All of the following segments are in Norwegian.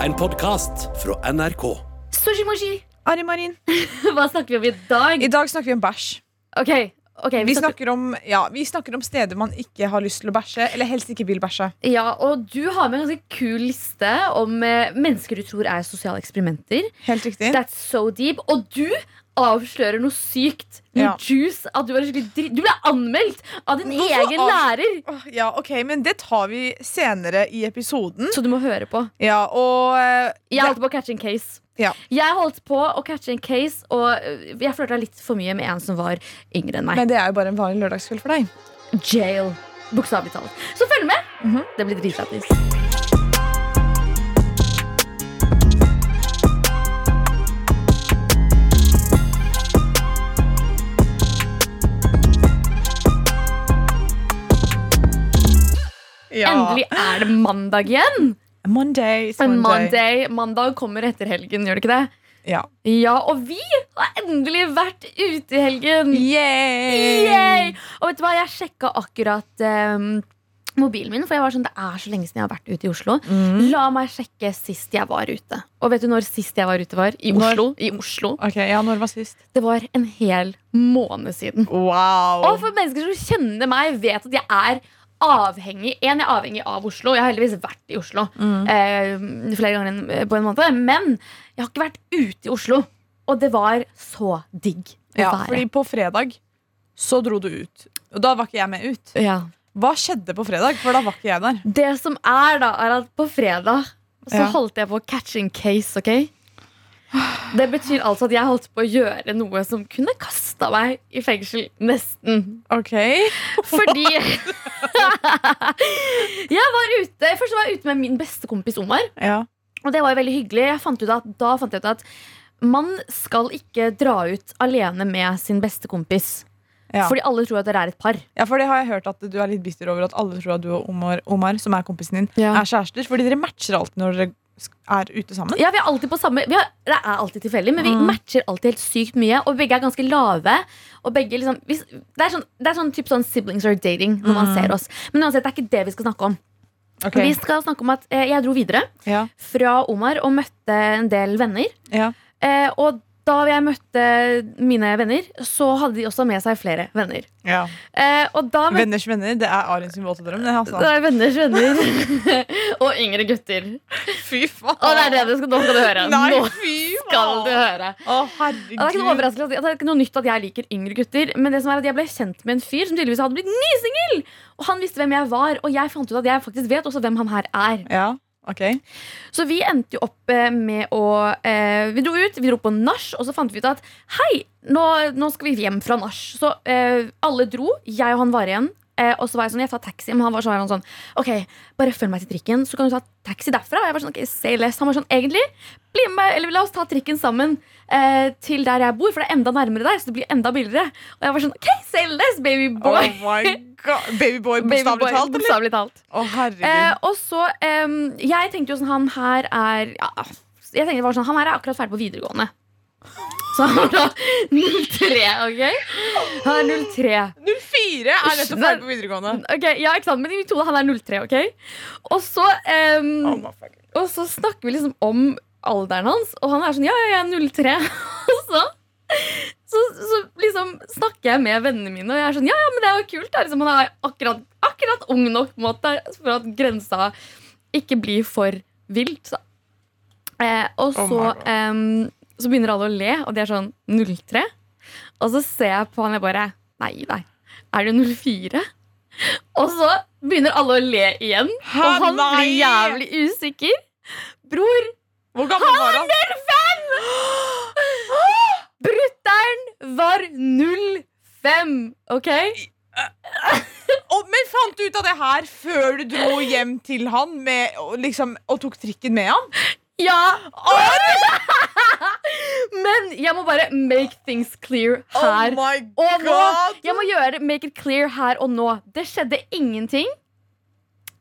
En podcast fra NRK Sushi moshi! Ari Marin, Hva snakker vi om i dag? i dag snakker vi om bæsj. Ok, ok Vi snakker om, ja, vi snakker om steder man ikke har lyst til å bæsje, eller helst ikke vil bæsje. Ja, og du har med en ganske kul liste om eh, mennesker du tror er sosiale eksperimenter. Helt riktig. That's so deep. Og du avslører noe sykt. Noe Ja. juice. At du, var skikkelig dritt. du ble anmeldt av din Hvorfor egen av- lærer! Åh, Ja, ok, men det tar vi senere i episoden. Så du må høre på. Ja, og eh, Jeg holdt på å catche en case. Ja. Jeg holdt på å catche en case, og eh, jeg flørta litt for mye med en som var yngre enn meg. Men det er jo bare en vanlig lørdagskveld for deg. Jail. Bokstavelig talt. Så følg med! Mhm. Det blir dritlættis. Ja. Endelig er det mandag igjen! Monday is En Monday. Monday. Mandag kommer etter helgen, gjør det ikke det? Ja. Ja, og vi har endelig vært ute i helgen! Yay! Yay! Og vet du hva, jeg sjekka akkurat eh, mobilen min, for jeg var sånn, det er så lenge siden jeg har vært ute i Oslo. Mm. La meg sjekke sist jeg var ute. Og vet du når sist jeg var ute var? I Når? Oslo. I Oslo. Ok, ja, når var sist? Det var en hel måned siden. Wow. Og for mennesker som kjenner meg, vet at jeg er avhengig En, jeg er avhengig av Oslo. Jeg har heldigvis vært i Oslo Mm. eh, flere ganger enn- på en måned. Men jeg har ikke vært ute i Oslo. Og det var så digg å Ja, være. fordi på fredag så dro du ut. Og da var ikke jeg med ut. Ja. Hva skjedde på fredag? For da var ikke jeg der. Det som er, da, er at på fredag så Ja. holdt jeg på å catch in case, OK? Det betyr altså at jeg holdt på å gjøre noe som kunne kasta meg i fengsel. Nesten. Ok. Fordi Jeg var ute Først var jeg ute med min beste kompis Omar, Ja. og det var jo veldig hyggelig. Jeg fant ut at, da fant jeg ut at man skal ikke dra ut alene med sin beste kompis. Ja. Fordi alle tror at dere er et par. Ja, for det har jeg hørt at du er litt bitter over at alle tror at du og Omar, Omar som er kompisen din, Ja. er kjærester. Fordi dere matcher alltid når dere sk- er ute sammen. Ja, vi er alltid på samme vi er, Det er alltid tilfeldig, men vi matcher alltid helt sykt mye. Og begge er ganske lave. Og begge liksom hvis, Det er sånn, det er sånn, typ sånn siblings are dating når man ser oss. Men uansett, det er ikke det vi skal snakke om. Vi skal snakke om at eh, Jeg dro videre Ja. fra Omar og møtte en del venner. Ja. Eh, og da jeg møtte mine venner, så hadde de også med seg flere venner. Ja. Eh, og da møtte Venners venner, det er Arin sin våte drøm. Det, det altså. er venners venner. og yngre gutter. Fy faen! Og det er det du skal, nå skal du høre. Nei, Nå fy skal du faen! høre. Å, Ja, Det er ikke noe herregud. overraskelse at- det er ikke noe nytt at jeg liker yngre gutter. Men det som er at jeg ble kjent med en fyr som tydeligvis hadde blitt nysingel! Og han visste hvem jeg var, og jeg fant ut at jeg faktisk vet også hvem han her er. Ja, ok. Så vi endte jo opp eh, med å eh, Vi dro ut, vi dro på nach, og så fant vi ut at hei, nå, nå skal vi hjem fra nach. Så eh, alle dro. Jeg og han var igjen. Eh, og så var jeg sånn, jeg tar taxi, men han var sånn, han var sånn Ok, bare følg meg til trikken, så kan du ta taxi derfra. Og jeg var sånn, ok, say less. Han var sånn, egentlig, bli med meg, eller la oss ta trikken sammen eh, til der jeg bor, for det er enda nærmere der, så det blir enda billigere. Og jeg var sånn, ok, say less, baby Oh boy. my god. Babyboy, Baby boy, bokstavelig talt? eller? bokstavelig talt. Å, herregud. Eh, og så em, Jeg tenkte jo sånn Han her er ja, Jeg tenkte det var sånn Han her er akkurat ferdig på videregående. Så han var da 03, OK? Han er 03. 04 er nettopp ferdig på videregående. Ok, Ja, ikke sant? Men i mitt hode han er 03, OK? Og så em, Oh, my fuck. Og så snakker vi liksom om alderen hans, og han er sånn ja, ja, jeg er 03. Og så, så, så liksom snakker jeg med vennene mine, og jeg er sånn ja, ja, men det er jo kult. Da. Liksom, han er akkurat, akkurat ung nok på en måte, for at grensa ikke blir for vilt. Da. Eh, og Oh my så, God. em, så begynner alle å le, og de er sånn 03. Og så ser jeg på han og jeg bare Nei, nei. Er det 04? Og så begynner alle å le igjen. Hæ, og han nei! blir jævlig usikker. Bror, Hvor gammel var han? brutter'n var 05, OK? Og, men fant du ut av det her før du dro hjem til han med, og, liksom, og tok trikken med han? Ja. Men jeg må bare make things clear her Oh my og nå. Jeg må gjøre make it clear her og nå. Det skjedde ingenting.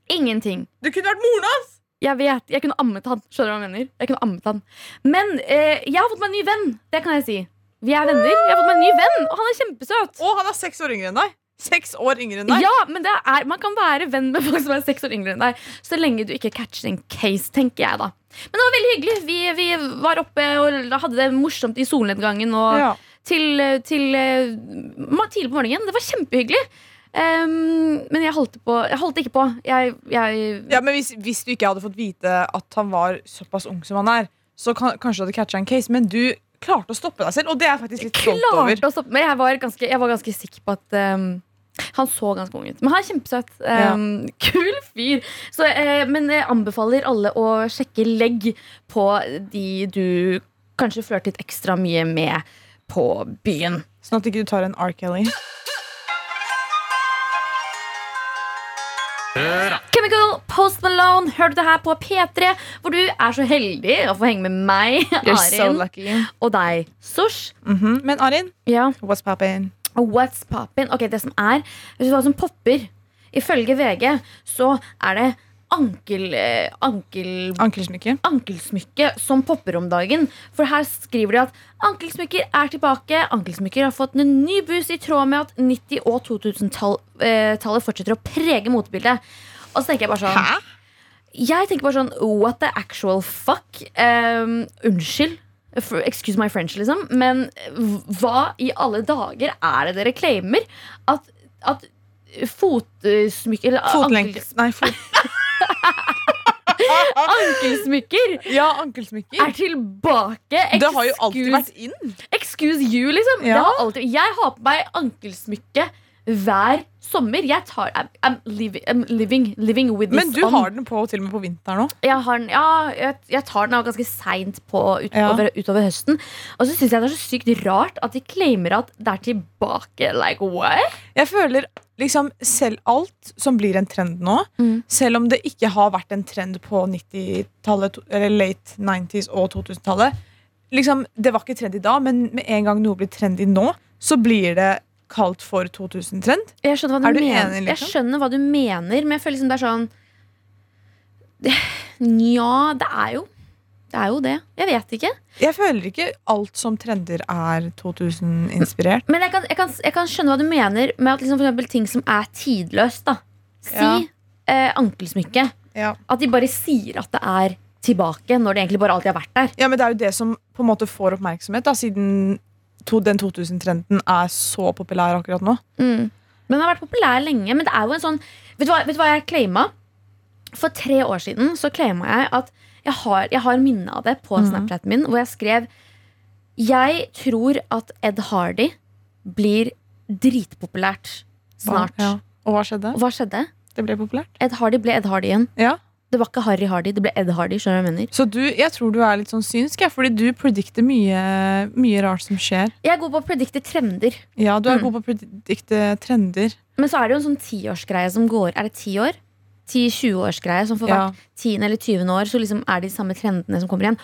Ingenting. Du kunne vært moren hans! Jeg vet, jeg kunne ammet han. Skjønner du hva jeg mener? Jeg kunne ammet han. Men eh, jeg har fått meg en ny venn. Det kan jeg si. Vi er venner. Jeg har fått meg en ny venn, og han er kjempesøt. Og han er seks år yngre enn deg. Seks år yngre enn deg. Ja, men det er, Man kan være venn med folk som er seks år yngre enn deg, så lenge du ikke catcher en case, tenker jeg da. Men det var veldig hyggelig. Vi, vi var oppe og hadde det morsomt i solnedgangen og Ja. til, til eh, ma- tidlig på morgenen. Det var kjempehyggelig. Ehm, men jeg holdt, på, jeg holdt ikke på. Jeg, jeg Ja, men hvis, hvis du ikke hadde fått vite at han var såpass ung som han er, så kan, kanskje du hadde catcha en case, men du klarte å stoppe deg selv, og det er jeg faktisk litt stolt over. klarte å stoppe Men jeg var ganske, jeg var ganske sikker på at ehm, han så ganske ung ut. Men han er kjempesøt. Ehm, Kul fyr. Så, eh, men jeg anbefaler alle å sjekke legg på de du kanskje flørtet ekstra mye med på byen. Sånn at ikke du tar en R. Kelly. Chemical Post Malone, hør du det her på P3, hvor du er så heldig å få henge med meg, Arin, lucky. og deg, Sosh. Mhm. Men Arin, Ja. what's poppin'? Og What's poppin'? Ok, det som er Vet du hva som popper? Ifølge VG så er det ankel, eh, ankel, Ankelsmykke. ankelsmykke som popper om dagen. For her skriver de at ankelsmykker er tilbake. Ankelsmykker har fått en ny boost i tråd med at 90- og 2000-tallet eh, fortsetter å prege motebildet. Og så tenker jeg bare sånn jeg tenker bare sånn What the actual fuck? Um, unnskyld. F- Excuse my French, liksom. Men hv- hva i alle dager er det dere claimer? At, at fotsmykker eller Fotlenke. ankels- Nei, fot... Ankelsmykker Ja, ankelsmykker. er tilbake! Det har jo alltid Excuse- vært in. Excuse you, liksom. Ja. Det har alltid, jeg har på meg ankelsmykke hver sommer. Jeg tar I'm, I'm, living, I'm living, living with this Men du on. har den på til og med på vinteren òg. jeg, har, den- ja, jeg, jeg tar den av ganske seint ut, Ja. over- utover høsten. Og så syns jeg det er så sykt rart at de claimer at det er tilbake. Like what? Jeg føler liksom selv alt som blir en trend nå, Mm. selv om det ikke har vært en trend på 90-tallet, to- eller late 90s og 2000-tallet liksom, Det var ikke trendy da, men med en gang noe blir trendy nå, så blir det kalt for 2000-trend. Jeg skjønner hva Er du, du mener. enig, liksom? Jeg skjønner hva du mener, men jeg føler liksom det er sånn Nja, det er jo Det er jo det. Jeg vet ikke. Jeg føler ikke alt som trender er 2000-inspirert. Men jeg kan, jeg, kan, jeg kan skjønne hva du mener med at liksom for eksempel ting som er tidløst. da Si Ja. eh, ankelsmykke. Ja. At de bare sier at det er tilbake, når det egentlig bare alltid har vært der. Ja, men Det er jo det som på en måte får oppmerksomhet, da, siden to, den 2000-trenden er så populær akkurat nå. Men den har vært populær lenge. Men det er jo en sånn Vet du hva, vet du hva jeg claima? For tre år siden så claima jeg at jeg har, jeg har minne av det på Snapchaten min, hvor jeg skrev Jeg tror at Ed Hardy blir dritpopulært snart. Ja. Og hva skjedde? Og hva skjedde? Det ble populært. Ed Hardy ble Ed Hardy igjen. Ja. Det var ikke Harry Hardy, det ble Ed Hardy. skjønner du hva jeg mener Så du, jeg tror du er litt sånn synsk, jeg, fordi du predikter mye, mye rart som skjer. Jeg er god på å predikte trender. Ja, du er Mm. god på å predikte trender. Men så er det jo en sånn tiårsgreie som går. Er det ti år? 10-20-årsgreie som for Ja. hvert tiende eller tyvende år så liksom er det de samme trendene som kommer igjen.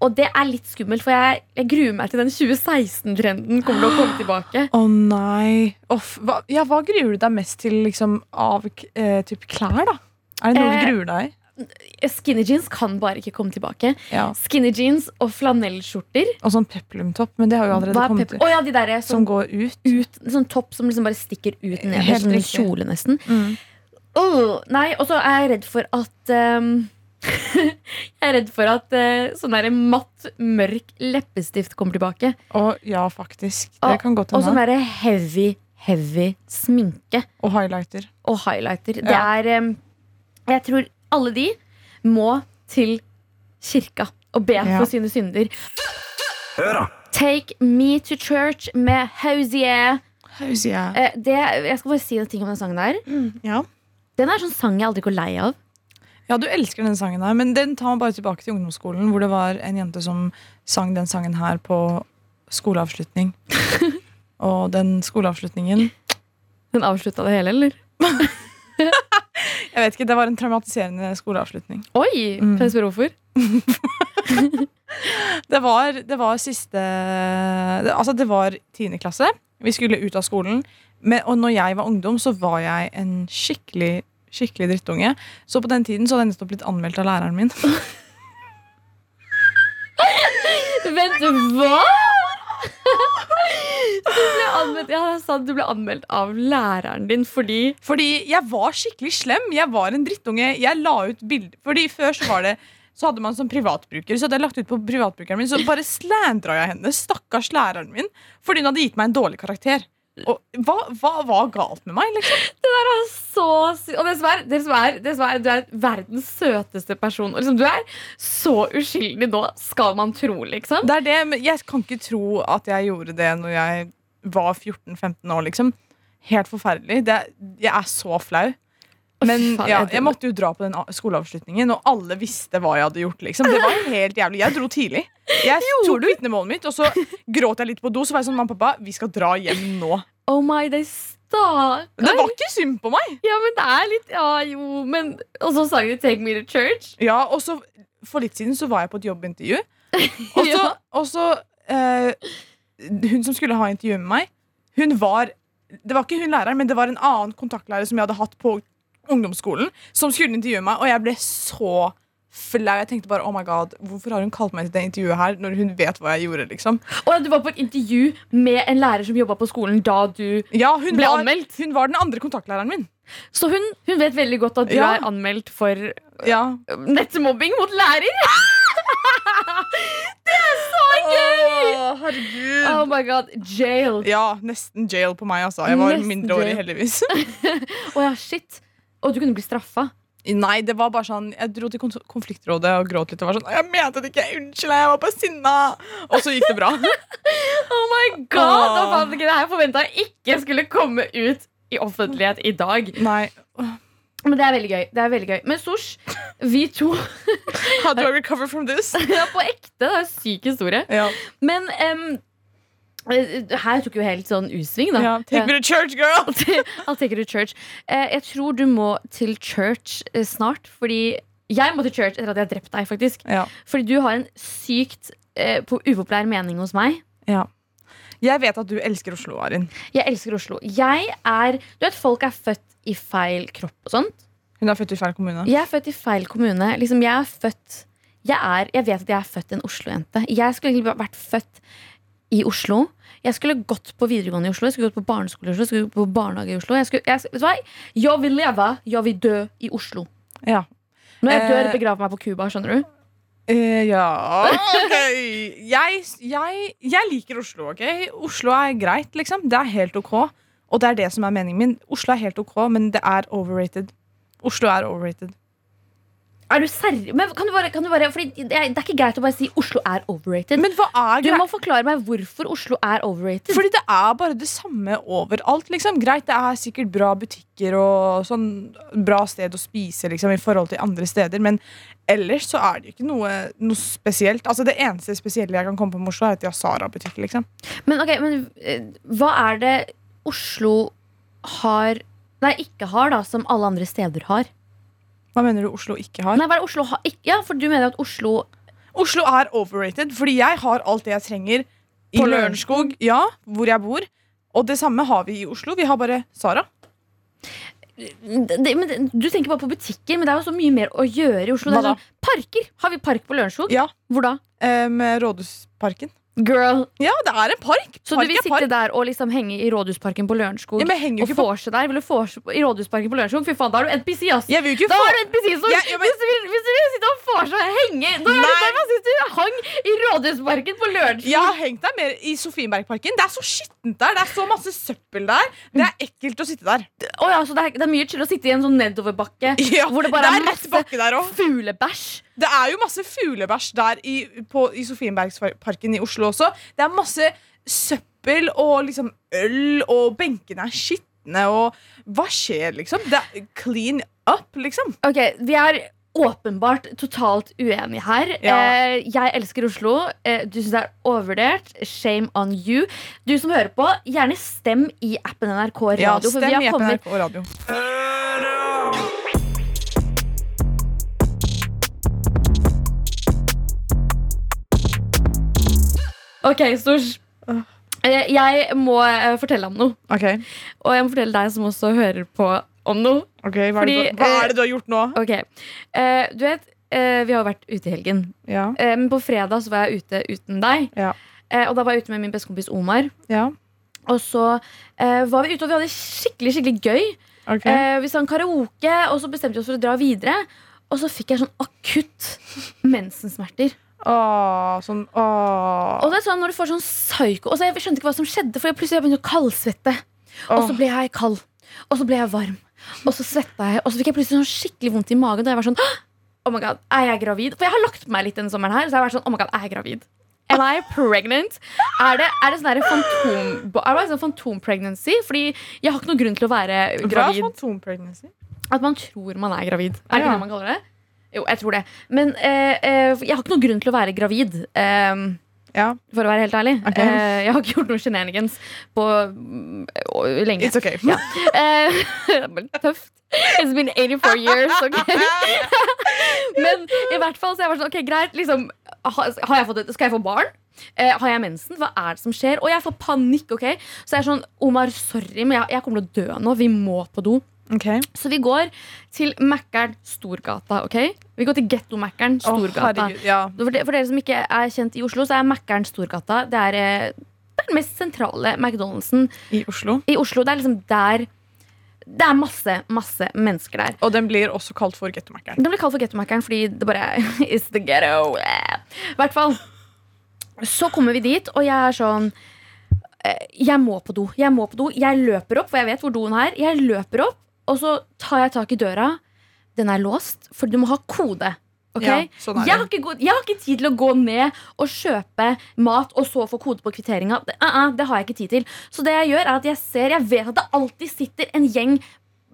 Og det er litt skummelt, for jeg, jeg gruer meg til den 2016-trenden kommer til å komme tilbake. Å nei. Off, hva, ja, hva gruer du deg mest til liksom, av k- eh, typ klær, da? Er det noe Eh, du gruer deg i? Skinny jeans kan bare ikke komme tilbake. Ja. Skinny jeans og flanellskjorter. Og sånn peplumtopp, men det har Hva jo allerede er kommet pep- ut. Å ja, de derre Som som, går ut. ut, sånn topp som liksom bare stikker ut nederst. Helt Sånn riktig. kjole, nesten. Mm. Åh, nei, og så er jeg redd for at ehm, Jeg er redd for at eh, sånn der matt, mørk leppestift kommer tilbake. Og ja, faktisk. Det Og- kan godt Og sånn hende. derre heavy, heavy sminke Og highlighter. og highlighter. Det Ja. er ehm, Jeg tror alle de må til kirka og be Ja. for sine synder. Take Me To Church med Hosier. Ja. Eh, det, jeg skal bare si en ting om den sangen der. Den er en sånn sang jeg aldri går lei av. Ja, du elsker den sangen her, men den tar meg bare tilbake til ungdomsskolen, hvor det var en jente som sang den sangen her på skoleavslutning. Og den skoleavslutningen Den avslutta det hele, eller? Jeg vet ikke, Det var en traumatiserende skoleavslutning. Oi! Kan jeg spørre hvorfor? Det var, det var siste det, Altså, det var tiende klasse. Vi skulle ut av skolen. Men, og når jeg var ungdom, så var jeg en skikkelig skikkelig drittunge. Så på den tiden så hadde jeg nettopp blitt anmeldt av læreren min. Vent, hva? ble anmeldt, ja, jeg sa at du ble anmeldt av læreren din fordi Fordi jeg var skikkelig slem. Jeg var en drittunge. Jeg la ut bilder Fordi før så var det så hadde man som privatbruker. Så hadde jeg lagt ut på privatbrukeren min, så bare slandra jeg henne. Stakkars læreren min. Fordi hun hadde gitt meg en dårlig karakter. Og hva, hva var galt med meg? Liksom? så sy- Og det som er, det som er, det som er du er verdens søteste person. Og liksom, du er så uskyldig nå, skal man tro, liksom. Det er det, men jeg kan ikke tro at jeg gjorde det når jeg var 14-15 år, liksom. Helt forferdelig. Det, er- jeg er så flau. Men faen, ja, jeg- jeg måtte jo dra på den a- skoleavslutningen, og alle visste hva jeg hadde gjort. liksom Det var helt jævlig. Jeg dro tidlig. Jeg tok vitnemålet mitt, og så gråt jeg litt på do. Så var jeg sånn, mamma og pappa, vi skal dra hjem nå. Oh my, they Det stakkar. var ikke synd på meg! Ja, men det er litt Ja, jo, men Og så sang de 'Take Me to Church'. Ja, og så For litt siden så var jeg på et jobbintervju. Og så, Ja. og så eh, Hun som skulle ha intervju med meg, hun var Det var ikke hun læreren, men det var en annen kontaktlærer som jeg hadde hatt på ungdomsskolen, som skulle intervjue meg, og jeg ble så flau. Jeg tenkte bare oh my god, hvorfor har hun kalt meg til det intervjuet her, når hun vet hva jeg gjorde, liksom. Og du var på et intervju med en lærer som jobba på skolen da du Ja, hun Ble var, anmeldt? Hun var den andre kontaktlæreren min. Så hun, hun vet veldig godt at du Ja. er anmeldt for øh, Ja. nettmobbing mot lærer. herregud. Oh my god, jail. Ja, nesten jail på meg, altså. Jeg var Nesten mindreårig, jail. heldigvis. Å ja, shit. Og du kunne bli straffa. Nei, det var bare sånn Jeg dro til kont- konfliktrådet og gråt litt. Og var sånn, jeg mente det ikke, unnskyld, jeg var bare sinna Og så gikk det bra. Oh my god, Åh. hva faen, ikke det her forventa jeg ikke skulle komme ut i offentlighet i dag. Nei, Men det er veldig gøy. det er veldig gøy Men Sosh, vi to How do I recover from this? Ja, på ekte. Det er en syk historie. Ja. Men em, eh, her tok jo helt sånn U-sving, da. Ja, take me to church, girl! I'll take you to church. Eh, jeg tror du må til church eh, snart, fordi jeg må til church etter at jeg har drept deg, faktisk. Ja. Fordi du har en sykt eh, på upopulær mening hos meg. Jeg vet at du elsker Oslo, Arin. Jeg elsker Oslo. Jeg er Du vet, folk er født i feil kropp og sånt. Hun er født i feil kommune. Jeg er født i feil kommune. Liksom, jeg er født jeg, er, jeg vet at jeg er født en Oslo-jente. Jeg skulle egentlig vært født i Oslo. Jeg skulle gått på videregående i Oslo, jeg skulle gått på barneskole i Oslo, jeg skulle gått på barnehage i Oslo. Jeg, skulle, jeg, vet du hva? jeg vil leve, jeg vil dø i Oslo. Ja. Når jeg dør, Eh. begrav meg på Cuba, skjønner du? Eh, ja. ok. Jeg, jeg, jeg liker Oslo, OK? Oslo er greit, liksom. Det er helt OK. Og det er det som er meningen min. Oslo er helt OK, men det er overrated. Oslo er overrated. Er du serr? Men kan du bare, kan du bare fordi det, er, det er ikke greit å bare si Oslo er overrated. Men hva er du grei- må forklare meg hvorfor Oslo er overrated. Fordi det er bare det samme overalt. liksom Greit, det er sikkert bra butikker og sånn bra sted å spise liksom i forhold til andre steder, men ellers så er det jo ikke noe, noe spesielt. Altså Det eneste spesielle jeg kan komme på med Oslo, er at de har Sara-butikk. liksom Men ok, men eh, hva er det Oslo har Nei, ikke har, da, som alle andre steder har? Hva mener du Oslo ikke har? Nei, hva er det Oslo har ikke, Ja, for du mener at Oslo Oslo er overrated, fordi jeg har alt det jeg trenger i På Lørenskog, ja, hvor jeg bor. Og det samme har vi i Oslo. Vi har bare Sara. det, det, men, det- Du tenker bare på butikker, men det er jo så mye mer å gjøre i Oslo. Det Hva er da? sånn, parker! Har vi park på Lørenskog? Ja, Hvor da? eh, Med Rådhusparken. Girl! Ja, det er en park! Så Park du vil er sitte park. der og liksom henge i Rådhusparken på Lørenskog? Ja, men jeg henger jo og ikke på vorse der? Vil du vorse på- i Rådhusparken på Lørenskog? Fy faen, da er du NPC, ass! Jeg vil jo ikke Da få er du NPC som Ja, ja, men- hvis, du vil, hvis du vil sitte og vorse og henge Da er du Nei. der man synes du hang i Rådhusparken på Lørenskog! Jeg har hengt der mer i Sofienbergparken. Det er så skittent der. Det er så masse søppel der. Det er ekkelt å sitte der. Å ja, så det, er, det er mye chill å sitte i en sånn nedoverbakke Ja, hvor det bare det er, er masse rett bakke der også. fuglebæsj. Det er jo masse fuglebæsj der i, på, i Sofienbergparken i Oslo også. Det er masse søppel og liksom øl, og benkene er skitne, og hva skjer, liksom? Det er clean up, liksom. Ok, Vi er åpenbart totalt uenige her. Ja. Eh, jeg elsker Oslo. Eh, du syns det er overvurdert. Shame on you. Du som hører på, gjerne stem i appen NRK Radio. Ja, for vi stem har i appen kommet- NRK og radio. Ok, Stors. Eh, jeg må eh, fortelle om noe. Ok, Og jeg må fortelle deg som også hører på, om noe. ok, hva, Fordi, er det du, hva eh, er det du har gjort nå? Ok, eh, Du vet, eh, vi har jo vært ute i helgen. Ja, Eh, men på fredag så var jeg ute uten deg. Ja. Eh, og da var jeg ute med min bestekompis Omar. ja, Og så eh, var vi ute, og vi hadde skikkelig skikkelig gøy. Ok. Eh, vi sang karaoke, og så bestemte vi oss for å dra videre. Og så fikk jeg sånn akutt mensensmerter. Åh, sånn, åh. Og det er sånn når du får sånn psyko Og så Jeg skjønte ikke hva som skjedde, for jeg plutselig begynte å kaldsvette. Og så Åh. ble jeg kald. Og så ble jeg varm. Og så svetta jeg. Og så fikk jeg plutselig sånn skikkelig vondt i magen. Og jeg var sånn «Åh! Oh my god, er jeg gravid? For jeg har lagt på meg litt denne sommeren her. Så jeg har vært sånn, oh my god, er jeg gravid? Am I pregnant? Er det, er det sånn der fantom... Er det sånn fantompregnancy? Fordi jeg har ikke noen grunn til å være Hva er gravid. fantompregnancy? At man tror man er gravid. Er det Ja. ikke det man kaller det? Jo, jeg tror det. Men eh, eh, jeg har ikke noen grunn til å være gravid. eh, Ja, for å være helt ærlig. Ok. Eh, jeg har ikke gjort noe shenanigans på mm, å- lenge. it's okay. Eh, det er bare tøft. It's been 84 years. ok? Men i hvert fall så jeg var sånn, ok, greit, liksom, ha, har jeg fått, et- skal jeg få barn? Eh, har jeg mensen? Hva er det som skjer? Og jeg får panikk. ok? Så jeg er sånn, Omar, sorry, men jeg, jeg kommer til å dø nå. Vi må på do. Ok. Så vi går til Mækkern Storgata, ok? Vi går til Getto Mækkern Åh, Storgata. herregud, ja. for, de, for dere som ikke er kjent i Oslo, så er Mækkern Storgata det er, eh, det er den mest sentrale McDonald'sen I Oslo. i Oslo. Det er liksom der Det er masse, masse mennesker der. Og den blir også kalt for gettomackeren. Den ble kalt for gettomackeren fordi det bare er It's the ghetto. I hvert fall. Så kommer vi dit, og jeg er sånn eh, Jeg må på do. Jeg må på do. Jeg løper opp, for jeg vet hvor doen er. Jeg løper opp, og så tar jeg tak i døra. Den er låst, for du må ha kode. ok? Ja, sånn er det. jeg, har ikke, gå- jeg har ikke tid til å gå ned og kjøpe mat og så få kode på kvitteringa. Det, eh, eh, det har jeg ikke tid til. Så det jeg gjør, er at jeg ser Jeg vet at det alltid sitter en gjeng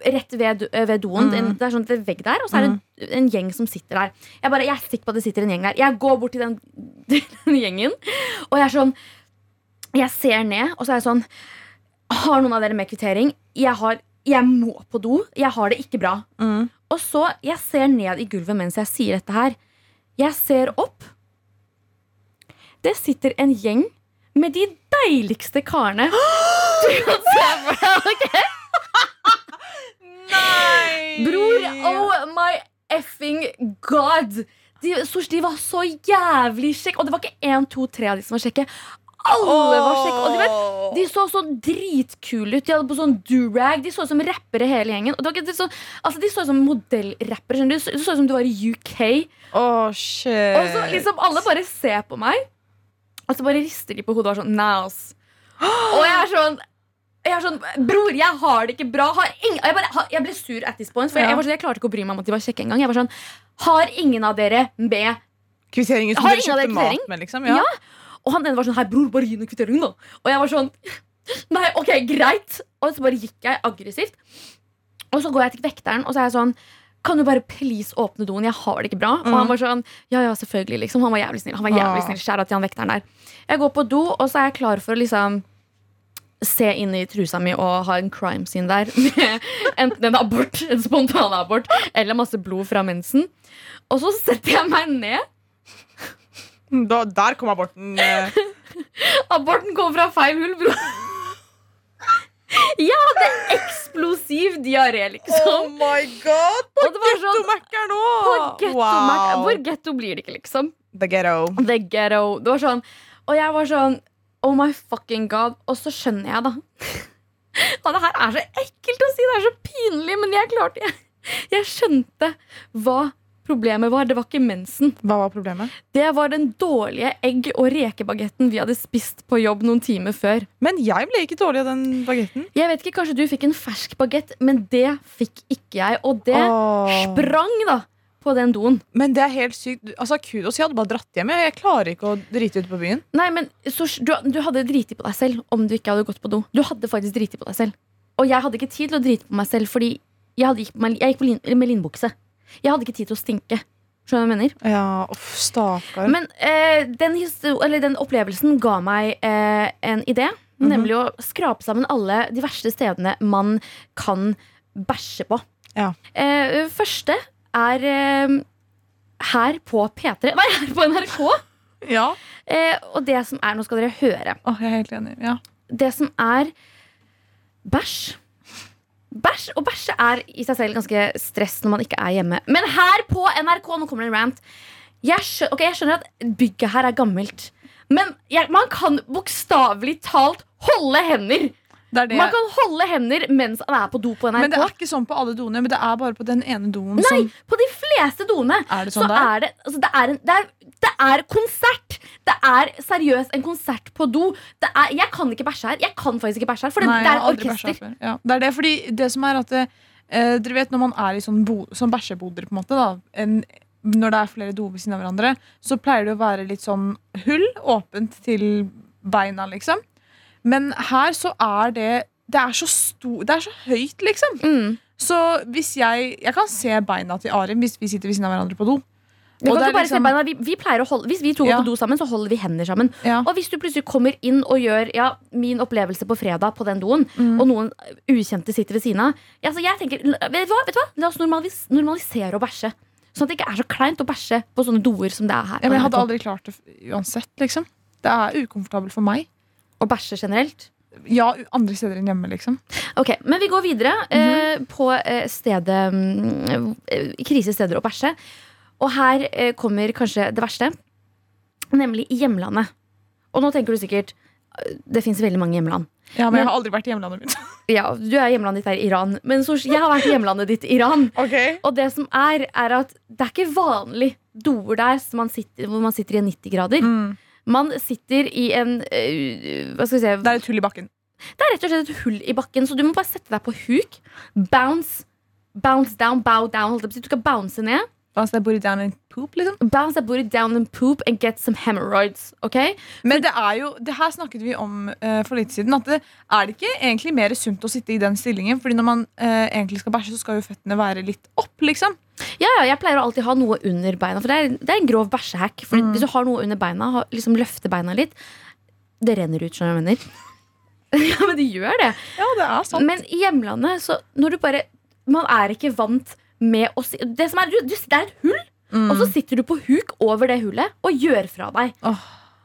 rett ved, do- eh, ved doen. Det er en- Mm. Det er sånn at det er vegg der, og så er det en, en gjeng som sitter der. Jeg, bare, jeg er sikker på at det sitter en gjeng der. Jeg går bort til den, til den gjengen, og jeg er sånn Jeg ser ned, og så er jeg sånn Har noen av dere med kvittering? Jeg, har, jeg må på do. Jeg har det ikke bra. Mm. Og så, jeg ser ned i gulvet mens jeg sier dette her. Jeg ser opp. Det sitter en gjeng med de deiligste karene. Du kan se for deg, ok? Nei! Bror, oh my effing god! De, Sosh, de var så jævlig kjekke. Og det var ikke én, to, tre av de som var kjekke. Alle var kjekke. Og de, vet, de så så dritkule ut. De hadde på sånn durag. De så ut som rappere hele gjengen. Og det var ikke, de, så, altså, de så ut som modellrappere. skjønner Du Du så ut som du var i UK. Åh, shit. Og så liksom alle bare ser på meg, og så bare rister de på hodet og er sånn Naus. Og jeg er sånn jeg er sånn, Bror, jeg har det ikke bra. Har ingen, jeg, bare, har- jeg ble sur at this point. For jeg, Ja. jeg, var sånn, jeg klarte ikke å bry meg om at de var kjekke engang. Jeg var sånn, Har ingen av dere med Kvitteringen som Har dere ingen av dere kjøpte mat kvittering? med, liksom. Ja. Ja. Og han ene var sånn Hei, bror, bare gi noen kvittering, da. Og jeg var sånn Nei, ok, greit. Og så bare gikk jeg aggressivt. Og så går jeg til vekteren, og så er jeg sånn kan du bare please åpne doen? Jeg har det ikke bra. Og han var sånn, ja, ja, selvfølgelig, liksom. Han var jævlig snill. Han var jævlig Ah. snill. Skjæra til han vekteren der. Jeg går på do, og så er jeg klar for å liksom se inn i trusa mi og ha en crime scene der. med Enten en abort, en spontan abort, eller masse blod fra mensen. Og så setter jeg meg ned, Da, der kom aborten. eh. Aborten kom fra feil hull, bro. Jeg hadde eksplosiv diaré, liksom. Oh my god! Og det var sånn Gettomackeren Hvor òg! ghetto, Mac- hvor ghetto blir det ikke, liksom? The ghetto. The ghetto. Det var sånn, og jeg var sånn Oh my fucking god. Og så skjønner jeg, da. Og det her er så ekkelt å si, det er så pinlig, men jeg klarte Jeg, jeg skjønte hva problemet var. Det var ikke mensen. Hva var problemet? Det var den dårlige egg- og rekebagetten vi hadde spist på jobb noen timer før. Men jeg ble ikke dårlig av den bagetten. Jeg vet ikke, Kanskje du fikk en fersk bagett, men det fikk ikke jeg. Og det Åh. sprang da på den doen. Men det er helt sykt. Du- Altså, kudos, jeg hadde bare dratt hjem. Jeg, jeg klarer ikke å drite ut på byen. Nei, men Sosh, du, du hadde driti på deg selv om du ikke hadde gått på do. Du hadde faktisk driti på deg selv. Og jeg hadde ikke tid til å drite på meg selv, fordi jeg, hadde gikk på meg, jeg gikk på lin, med linbukse. Jeg hadde ikke tid til å stinke. Skjønner du hva jeg mener? Ja, uff, stakkar. Men eh, den, histo- eller den opplevelsen ga meg eh, en idé. Mhm. Nemlig å skrape sammen alle de verste stedene man kan bæsje på. Ja. Eh, første er eh, her på P3 Nei, her på NRK. ja. Eh, og det som er Nå skal dere høre. Åh, jeg er helt enig. Ja. Det som er bæsj. Bæsj og bæsje er i seg selv ganske stress når man ikke er hjemme. Men her på NRK, nå kommer det en rant. Jeg, skjø ok, jeg skjønner at bygget her er gammelt. Men jeg, man kan bokstavelig talt holde hender! Det er det. Man kan holde hender mens man er på do på Men NRK. det er ikke sånn på alle doene, men det er bare på den ene doen Nei, som på de fleste doene Er det så sånn der? er det altså det, er en, det, er, det er konsert! Det er seriøst en konsert på do. Det er, jeg kan ikke bæsje her. Jeg kan faktisk ikke bæsje her, for det, Nei, det jeg er har et aldri bæsja orkester. før. Ja. Det er det, fordi det som er at det, eh, Dere vet når man er i sånn, bo, sånn bæsjeboder, på en måte, da en, når det er flere doer ved siden av hverandre, så pleier det å være litt sånn hull åpent til beina, liksom. Men her så er det Det er så, sto, det er så høyt, liksom. Mm. Så hvis jeg Jeg kan se beina til Arim hvis vi sitter ved siden av hverandre på do. Du Og kan det er ikke bare se liksom- beina. Vi, vi pleier å holde, hvis vi to går Ja. på do sammen, så holder vi hender sammen. Ja. Og hvis du plutselig kommer inn og gjør ja, min opplevelse på fredag på den doen, Mm. og noen ukjente sitter ved siden av ja, så jeg tenker, l- vet du hva, vet du hva? La oss normalis normalisere å bæsje. Sånn at det ikke er så kleint å bæsje på sånne doer som det er her. Ja, men på jeg hadde NRK. aldri klart det f- uansett, liksom. Det er ukomfortabelt for meg. Å bæsje generelt. Ja, u- andre steder enn hjemme, liksom. Ok, Men vi går videre eh, på eh, stedet mm, eh, krisesteder å bæsje. Og her eh, kommer kanskje det verste, nemlig i hjemlandet. Og nå tenker du sikkert eh, det fins veldig mange hjemland. Ja, Men- men jeg har aldri vært i hjemlandet mitt. Ja, Du er hjemlandet ditt er Iran. Men så, jeg har vært i hjemlandet ditt Iran. Og det som er, er at det er ikke vanlig doer der som man sitter, hvor man sitter i 90 grader. Mm. Man sitter i en eh, Hva skal vi si Det er et hull i bakken. Det er rett og slett et hull i bakken, så du må bare sette deg på huk. Bounce. Bounce down, bow down. holdt jeg på å si. Du skal bounce ned. Altså, det bor down in poop, liksom. Bounce that booty down and poop and get some hemorrhoids. ok? Men det er jo, det her snakket vi om eh, for litt siden. At det, er det ikke egentlig mer sunt å sitte i den stillingen? Fordi når man eh, egentlig skal bæsje, så skal jo føttene være litt opp, liksom. Ja, ja, Jeg pleier å alltid ha noe under beina, for det er, det er en grov bæsjehack. For Hvis du har noe under beina, ha- liksom løfter beina litt, det renner ut. skjønner du hva jeg mener. ja, men det gjør det. Ja, det er sant. Men i hjemlandet, så når du bare Man er ikke vant med å si Det som er, du, du, det er et hull, Mm. og så sitter du på huk over det hullet og gjør fra deg. Åh.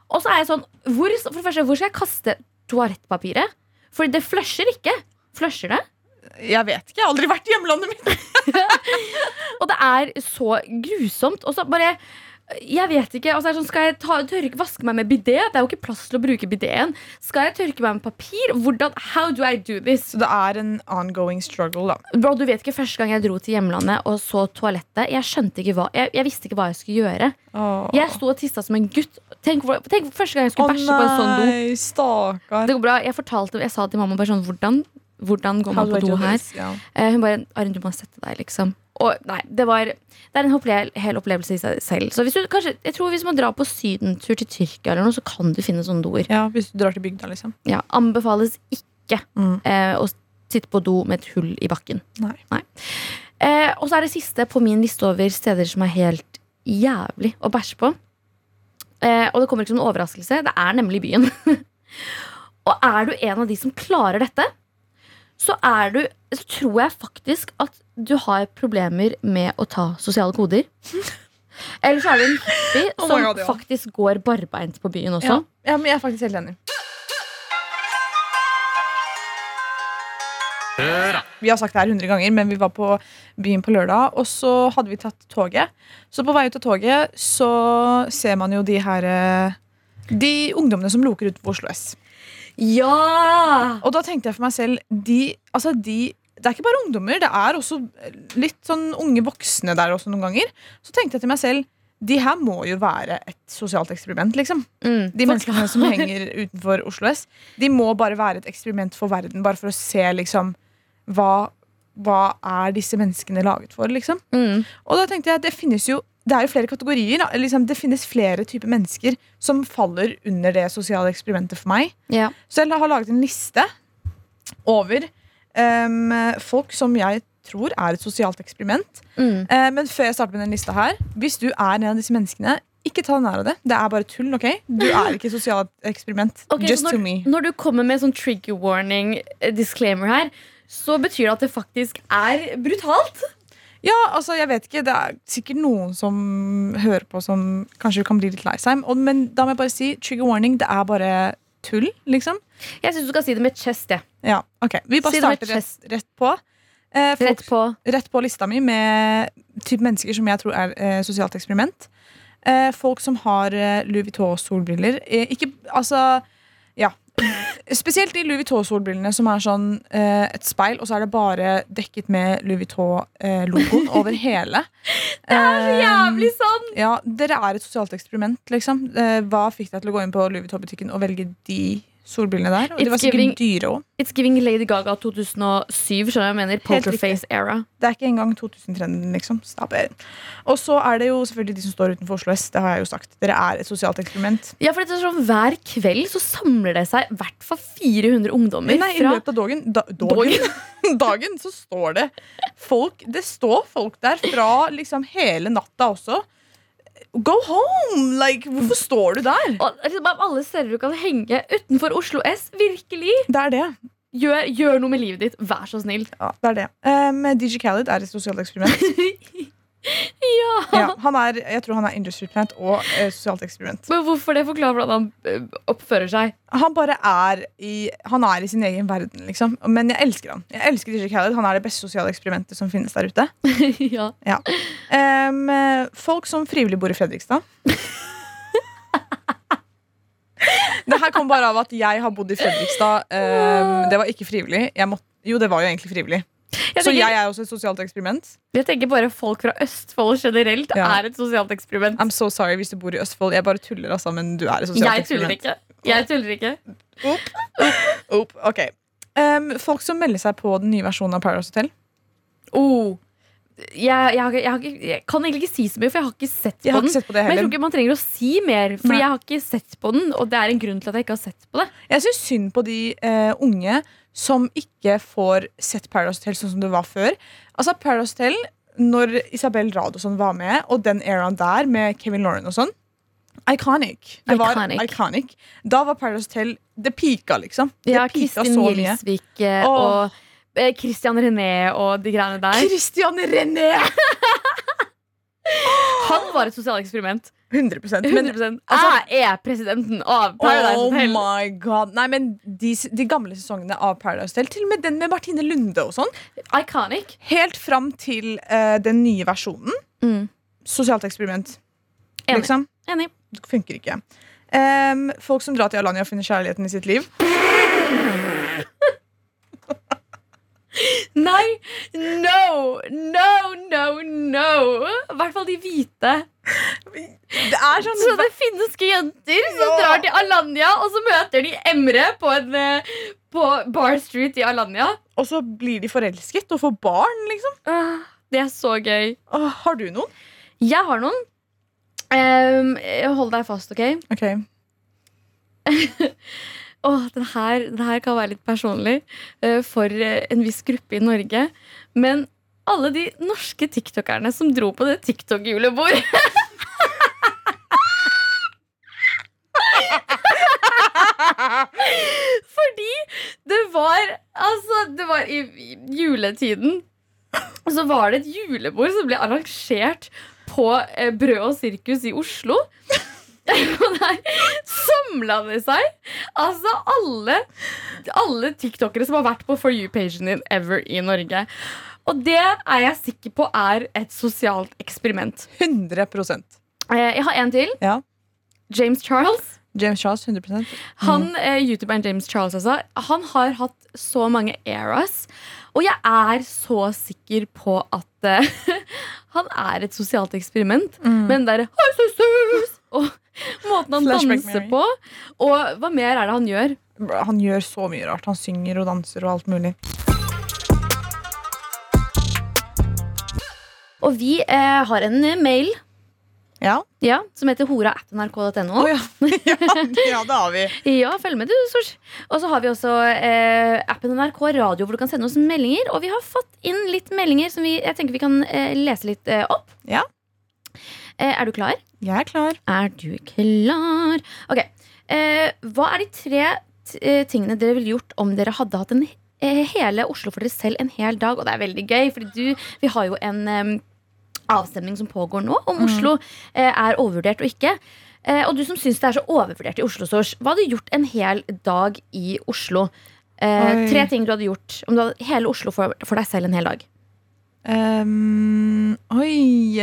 Og så er jeg sånn hvor, For det første, hvor skal jeg kaste toalettpapiret? For det flusher ikke. Flusher det? Jeg vet ikke. Jeg har aldri vært i hjemlandet mitt. Og det er så grusomt. Og så bare jeg vet ikke, altså det er sånn, Skal jeg ta, tørke, vaske meg med bidé? Det er jo ikke plass til å bruke bidéen. Skal jeg tørke meg med papir? Hvordan, how do I do this? Så det er en ongoing struggle, da. Bro, du vet ikke Første gang jeg dro til hjemlandet og så toalettet, jeg skjønte ikke hva Jeg, jeg visste ikke hva jeg skulle gjøre. Jeg sto og tissa som en gutt. Tenk, hvor- tenk første gang jeg skulle bæsje på en sånn do. nei, stakkar. Det går bra, Jeg fortalte, jeg sa til mamma bare sånn Hvordan, hvordan går man på do her? Ja. Eh, Hun bare Arin, du må sette deg, liksom. Og nei, det var Det er en opple hel opplevelse i seg selv. Så hvis du kanskje Jeg tror hvis man drar på sydentur til Tyrkia eller noe, så kan du finne sånne doer. ja, Hvis du drar til bygda, liksom. Ja, anbefales ikke Mm. eh, å sitte på do med et hull i bakken. Nei. Eh, og så er det siste på min liste over steder som er helt jævlig å bæsje på. Eh, og det kommer ikke som en overraskelse. Det er nemlig byen. og er du en av de som klarer dette, så er du Så tror jeg faktisk at du har problemer med å ta sosiale koder. Eller så er du en hippie Oh my som God, ja. faktisk går barbeint på byen også. Ja. ja, men jeg er faktisk helt enig. Vi har sagt det her 100 ganger, men vi var på byen på lørdag, og så hadde vi tatt toget. Så på vei ut av toget så ser man jo de her eh, De ungdommene som loker ut på Oslo S. Ja! Og da tenkte jeg for meg selv de, altså de, Det er ikke bare ungdommer, det er også litt sånn unge voksne der også noen ganger. Så tenkte jeg til meg selv de her må jo være et sosialt eksperiment, liksom. Mm. De menneskene som henger utenfor Oslo S, de må bare være et eksperiment for verden. Bare for å se liksom hva, hva er disse menneskene laget for, liksom. Mm. Og da tenkte jeg at det finnes jo det er jo flere kategorier. da. Liksom, det finnes flere typer mennesker som faller under det sosiale eksperimentet for meg. Ja. Så jeg har laget en liste over em, folk som jeg tror er et sosialt eksperiment. Mm. Eh, men før jeg starter med den lista her, hvis du er en av disse menneskene, ikke ta deg nær av det. Det er bare tull. ok? Du er ikke et sosialt eksperiment. Ok, så Just når, to me. Når du kommer med sånn trigger warning eh, disclaimer her, så betyr det at det faktisk er brutalt. Ja, altså, jeg vet ikke, Det er sikkert noen som hører på som kanskje kan bli litt lei seg. Og- Men da må jeg bare si trigger warning. Det er bare tull, liksom. Jeg syns du skal si det med chest. jeg. Ja, ok. Vi bare Si det med starter chest. rett, rett på. Eh, folk Rett på. rett på lista mi med typ mennesker som jeg tror er eh, sosialt eksperiment. eh, folk som har eh, Louis Vuitton-solbriller. Eh, ikke Altså, ja. Spesielt de Louis Vuitton-solbrillene som er sånn eh, et speil, og så er det bare dekket med Louis Vuitton-logoen over hele. Det er så Jævlig sånn! Ja, Dere er et sosialt eksperiment, liksom. Eh, hva fikk deg til å gå inn på Louis Vuitton-butikken og velge de solbrillene der? Og de It's var sikkert giving- dyre òg. It's giving Lady Gaga 2007, skjønner du hva jeg mener? Helt riktig. Pokerface era. Det er ikke engang 2000-trenden, liksom. Stop it. Og så er det jo selvfølgelig de som står utenfor Oslo S. Det har jeg jo sagt. Dere er et sosialt eksperiment. Ja, for det er sånn, Hver kveld så samler det seg i hvert fall 400 ungdommer. Nei, i fra løpet av dagen, da, dagen, dagen så står det folk Det står folk der fra liksom hele natta også. Go home! Like, hvorfor står du der? og, liksom, av alle steder du kan henge utenfor Oslo S. Virkelig! Det er det. Gjør, gjør noe med livet ditt, vær så snill. Ja, det er det. Um, DJ Khaled er et sosialt eksperiment. Ja! Ja, han er, jeg tror han er industry plant og eh, sosialt eksperiment. Men hvorfor det? Forklar hvordan han eh, oppfører seg. Han bare er i, han er i sin egen verden, liksom. Men jeg elsker han. Jeg elsker DJ Khaled. Han er det beste sosiale eksperimentet som finnes der ute. ja. Em, eh, folk som frivillig bor i Fredrikstad. det her kom bare av at jeg har bodd i Fredrikstad. Em, det var ikke frivillig. Jeg måtte, jo, det var jo egentlig frivillig. Jeg Så tenker, jeg jeg, er også et sosialt eksperiment. tenker bare folk fra Østfold generelt Ja. er et sosialt eksperiment. I'm so sorry hvis du bor i Østfold. Jeg bare tuller, altså, men du er et sosialt Jeg tuller eksperiment. ikke. Jeg tuller ikke. Oop, ok. Em, folk som melder seg på den nye versjonen av Paradise Hotel. Oh. Jeg, jeg, har ikke- jeg, har ikke- jeg kan egentlig ikke si så mye, for jeg har ikke sett på Jeg har den. ikke sett på det Men jeg heller. tror ikke man trenger å si mer, for Nei. jeg har ikke sett på den. Og det er en grunn til at jeg ikke har sett på det. Jeg syns synd på de eh, unge som ikke får sett Paradise Hotel sånn som det var før. Altså Paradise Hotel, når Isabel Radosson var med, og den eraen der med Kevin Lauren og sånn Iconic. Det var Iconic. iconic. Da var Paradise Hotel Det pika, liksom. Det Ja, pika Kristin så mye. Gjelsvik eh, Åh. og eh, Christian René og de greiene der. Christian René! Han var et sosialt eksperiment. 100 Men 100 altså- Jeg er presidenten av Paradise oh Hotel. my god. Nei, men de, de gamle sesongene av Paradise Hotel, til og med den med Martine Lunde og sånn, Iconic. helt fram til eh, den nye versjonen. Mm. Sosialt eksperiment. Enig. Liksom. Enig. Det funker ikke. Ehm, folk som drar til Alanya og finner kjærligheten i sitt liv. Nei! No! No, no, no! I hvert fall de hvite. Det er sånn Så det er finske jenter som Ja. drar til Alanya, og så møter de Emre på, en, eh, på Bar Street i Alanya. Og så blir de forelsket og får barn, liksom. Ah, Det er så gøy. Åh, har du noen? Jeg har noen. Ehm, hold deg fast, OK? Ok, Åh, den her, den her kan være litt personlig eh, for eh, en viss gruppe i Norge. Men alle de norske tiktokerne som dro på det TikTok-julebordet Fordi det var Altså, det var i, i juletiden. Og så var det et julebord som ble arrangert på eh, Brød og sirkus i Oslo. Og der samla det seg altså alle, alle tiktokere som har vært på For you-pagen din ever i Norge. Og det er jeg sikker på er et sosialt eksperiment. 100 Eh, Jeg har en til. Ja. James Charles. James Charles, 100 Han, Mm. eh, YouTuberen James Charles altså, Han har hatt så mange eras. Og jeg er så sikker på at eh, han er et sosialt eksperiment. Mm. Men der Hei, sisters! Og måten han Flashback danser Mary. på. Og hva mer er det han gjør? Han gjør så mye rart. Han synger og danser og alt mulig. Og vi eh, har en eh, mail Ja, ja, som heter hora.nrk.no. Å, ja. ja, ja det har vi. Ja, følg med, du, Sors. Og så har vi også eh, appen NRK Radio, hvor du kan sende oss meldinger. Og vi har fått inn litt meldinger som vi, jeg tenker vi kan eh, lese litt eh, opp. Ja. Eh, er du klar? Jeg er klar. Er du klar? Ok, eh, Hva er de tre t eh, tingene dere ville gjort om dere hadde hatt en eh, hele Oslo for dere selv en hel dag? Og det er veldig gøy, fordi du, vi har jo en eh, avstemning som pågår nå om Oslo eh, er overvurdert og ikke. Eh, og du som syns det er så overvurdert i Oslo, Sors, hva hadde du gjort en hel dag i Oslo? Eh, Oi. tre ting du hadde gjort om du hadde hele Oslo for, for deg selv en hel dag. Ehm, oi.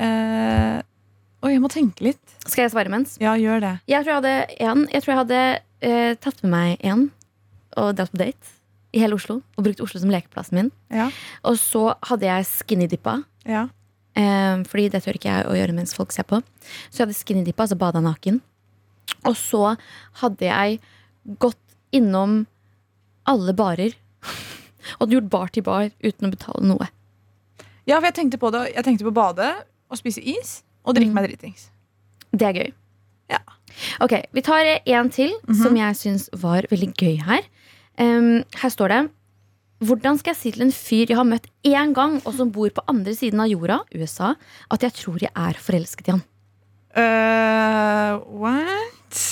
eh, Oi, jeg må tenke litt. Skal jeg svare imens? Ja, gjør det. Jeg tror jeg hadde en Jeg tror jeg hadde eh, tatt med meg en og dratt på date i hele Oslo. Og brukt Oslo som lekeplassen min. Ja. Og så hadde jeg skinny-dippa. Ja. Eh, fordi det tør ikke jeg å gjøre mens folk ser på. Så jeg hadde skinny-dippa, altså bada naken. Og så hadde jeg gått innom alle barer. Og hadde gjort bar til bar uten å betale noe. ja, for jeg tenkte på det. Jeg tenkte på å bade og spise is og drikke Mm. meg dritings. Det er gøy. Ja. Ok, Vi tar eh, en til som jeg syns var veldig gøy her. Em, her står det Hvordan skal jeg si til en fyr jeg har møtt én gang, og som bor på andre siden av jorda, USA, at jeg tror jeg er forelsket i han? Eh, what?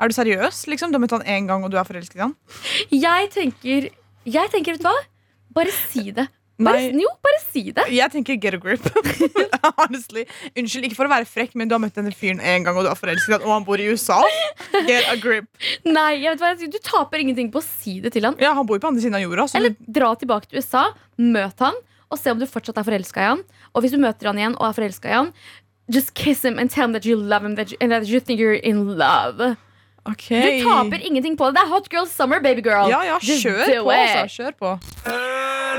Er du seriøs? liksom? Du har møtt han én gang, og du er forelsket i han? Jeg tenker, jeg tenker vet du hva? Bare si det. Bare, Nei, jo, bare si det. jeg tenker get a grip. Honestly. Unnskyld, ikke for å være frekk, men du har møtt denne fyren én gang, og du er forelsket i han, og han bor i USA. Get a grip. Nei, jeg vet hva jeg sier. Du taper ingenting på å si det til han. Ja, han bor jo på andre siden av jorda. Så Eller dra tilbake til USA, møt han, og se om du fortsatt er forelska i han. Og hvis du møter han igjen og er forelska i han, just kiss him and tell him that you love him that you, and that you think you're in love. Du Okay. taper ingenting på det. Det er hot girl summer, baby girl. Ja, ja, Just kjør do på, it. altså. Kjør på.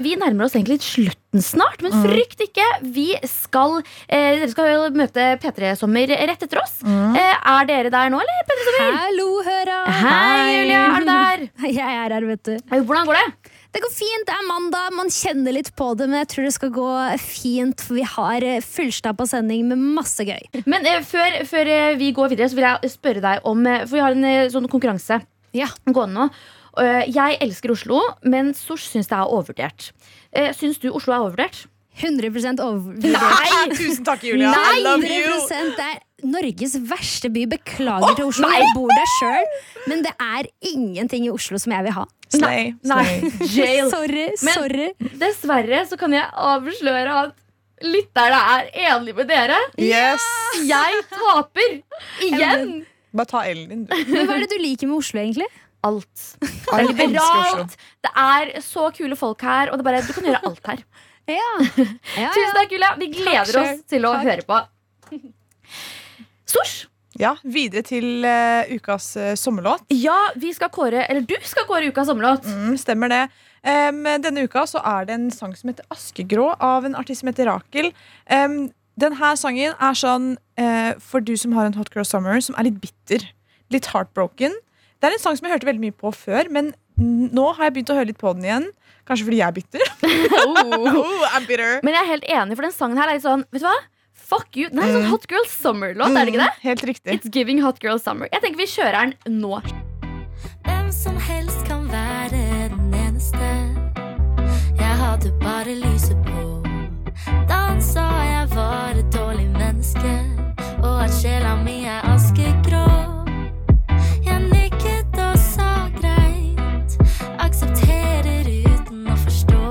Vi nærmer oss egentlig slutten snart, Mm. men frykt ikke. Vi skal, eh, dere skal jo møte P3 Sommer rett etter oss. Mm. Eh, er dere der nå, eller? P3 Sommer? Hallo, høra! Hei, Julia, er du der? Jeg er her, vet du. Eh, Hvordan går det? Det går fint. Det er mandag, man kjenner litt på det, men jeg tror det skal gå fint, for vi har eh, fullstappa sending med masse gøy. Men eh, før, før eh, vi går videre, så vil jeg spørre deg om eh, For vi har en eh, sånn konkurranse Ja. gående nå. Eh, jeg elsker Oslo, men Sosh syns det er overvurdert. Eh, syns du Oslo er overvurdert? 100 overvurdert. Nei! Tusen takk, Julia. I love you. 100 Det er Norges verste by. Beklager til Oslo, jeg bor der sjøl, men det er ingenting i Oslo som jeg vil ha. Slay. Nei, slay. jail. Sorry, Men- sorry. Dessverre så kan jeg avsløre at lytterne er enige med dere. Yes. Jeg taper igjen. Bare ta Ellen din, du. Men hva er det du liker med Oslo, egentlig? Alt. Det er Jeg elsker Oslo. liberalt. Det er så kule folk her, og det er bare, du kan gjøre alt her. Ja. Ja, Tusen takk, Julia. Vi gleder Takk oss selv. til å Takk. høre på. Sosh, Ja, videre til eh, ukas eh, sommerlåt. ja, vi skal kåre Eller du skal kåre ukas sommerlåt. Mm, stemmer det. Em, denne uka så er det en sang som heter Askegrå, av en artist som heter Rakel. Um, denne sangen er sånn eh, for du som har en Hot Girl Summer som er litt bitter. Litt heartbroken. Det er en sang som jeg hørte veldig mye på før, men n- nå har jeg begynt å høre litt på den igjen. Kanskje fordi jeg er bitter. oh, I'm bitter. Men jeg er helt enig, for den sangen her er litt sånn Vet du hva? Fuck you. Den er en sånn Hot Girl Summer-låt, er det ikke det? Mm, Helt riktig. It's giving Hot Girl Summer. Jeg tenker vi kjører den nå. Hvem som helst kan være den eneste. Jeg hadde bare lyset på. Da han sa jeg var et dårlig menneske, og at sjela mi er askegrå. Jeg nikket og sa greit, aksepterer uten å forstå.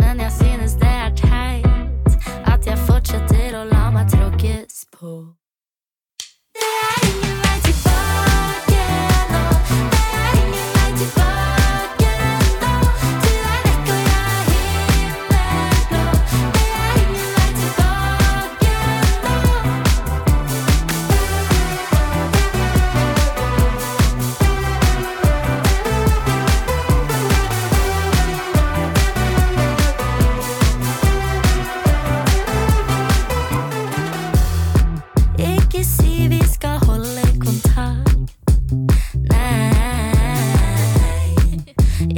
Men jeg synes det er teit at jeg fortsetter å la meg tråkkes på. Det er ingen vei tilbake nå. Det er ingen vei tilbake nå. Du er vekk og jeg er himmelblå. Det er ingen vei tilbake nå. Ikke si vi skal holde kontakt. Nei.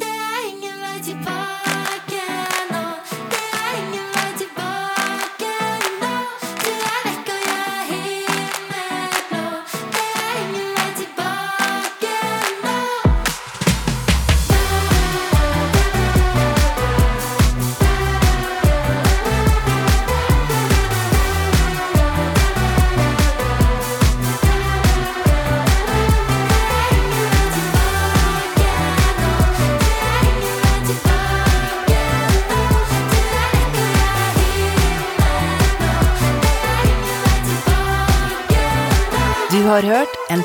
Det er ingen vei tilbake nå. Det er ingen vei tilbake nå. Du er vekk, og jeg er himmelblå. Det er ingen vei tilbake nå. Du har hørt en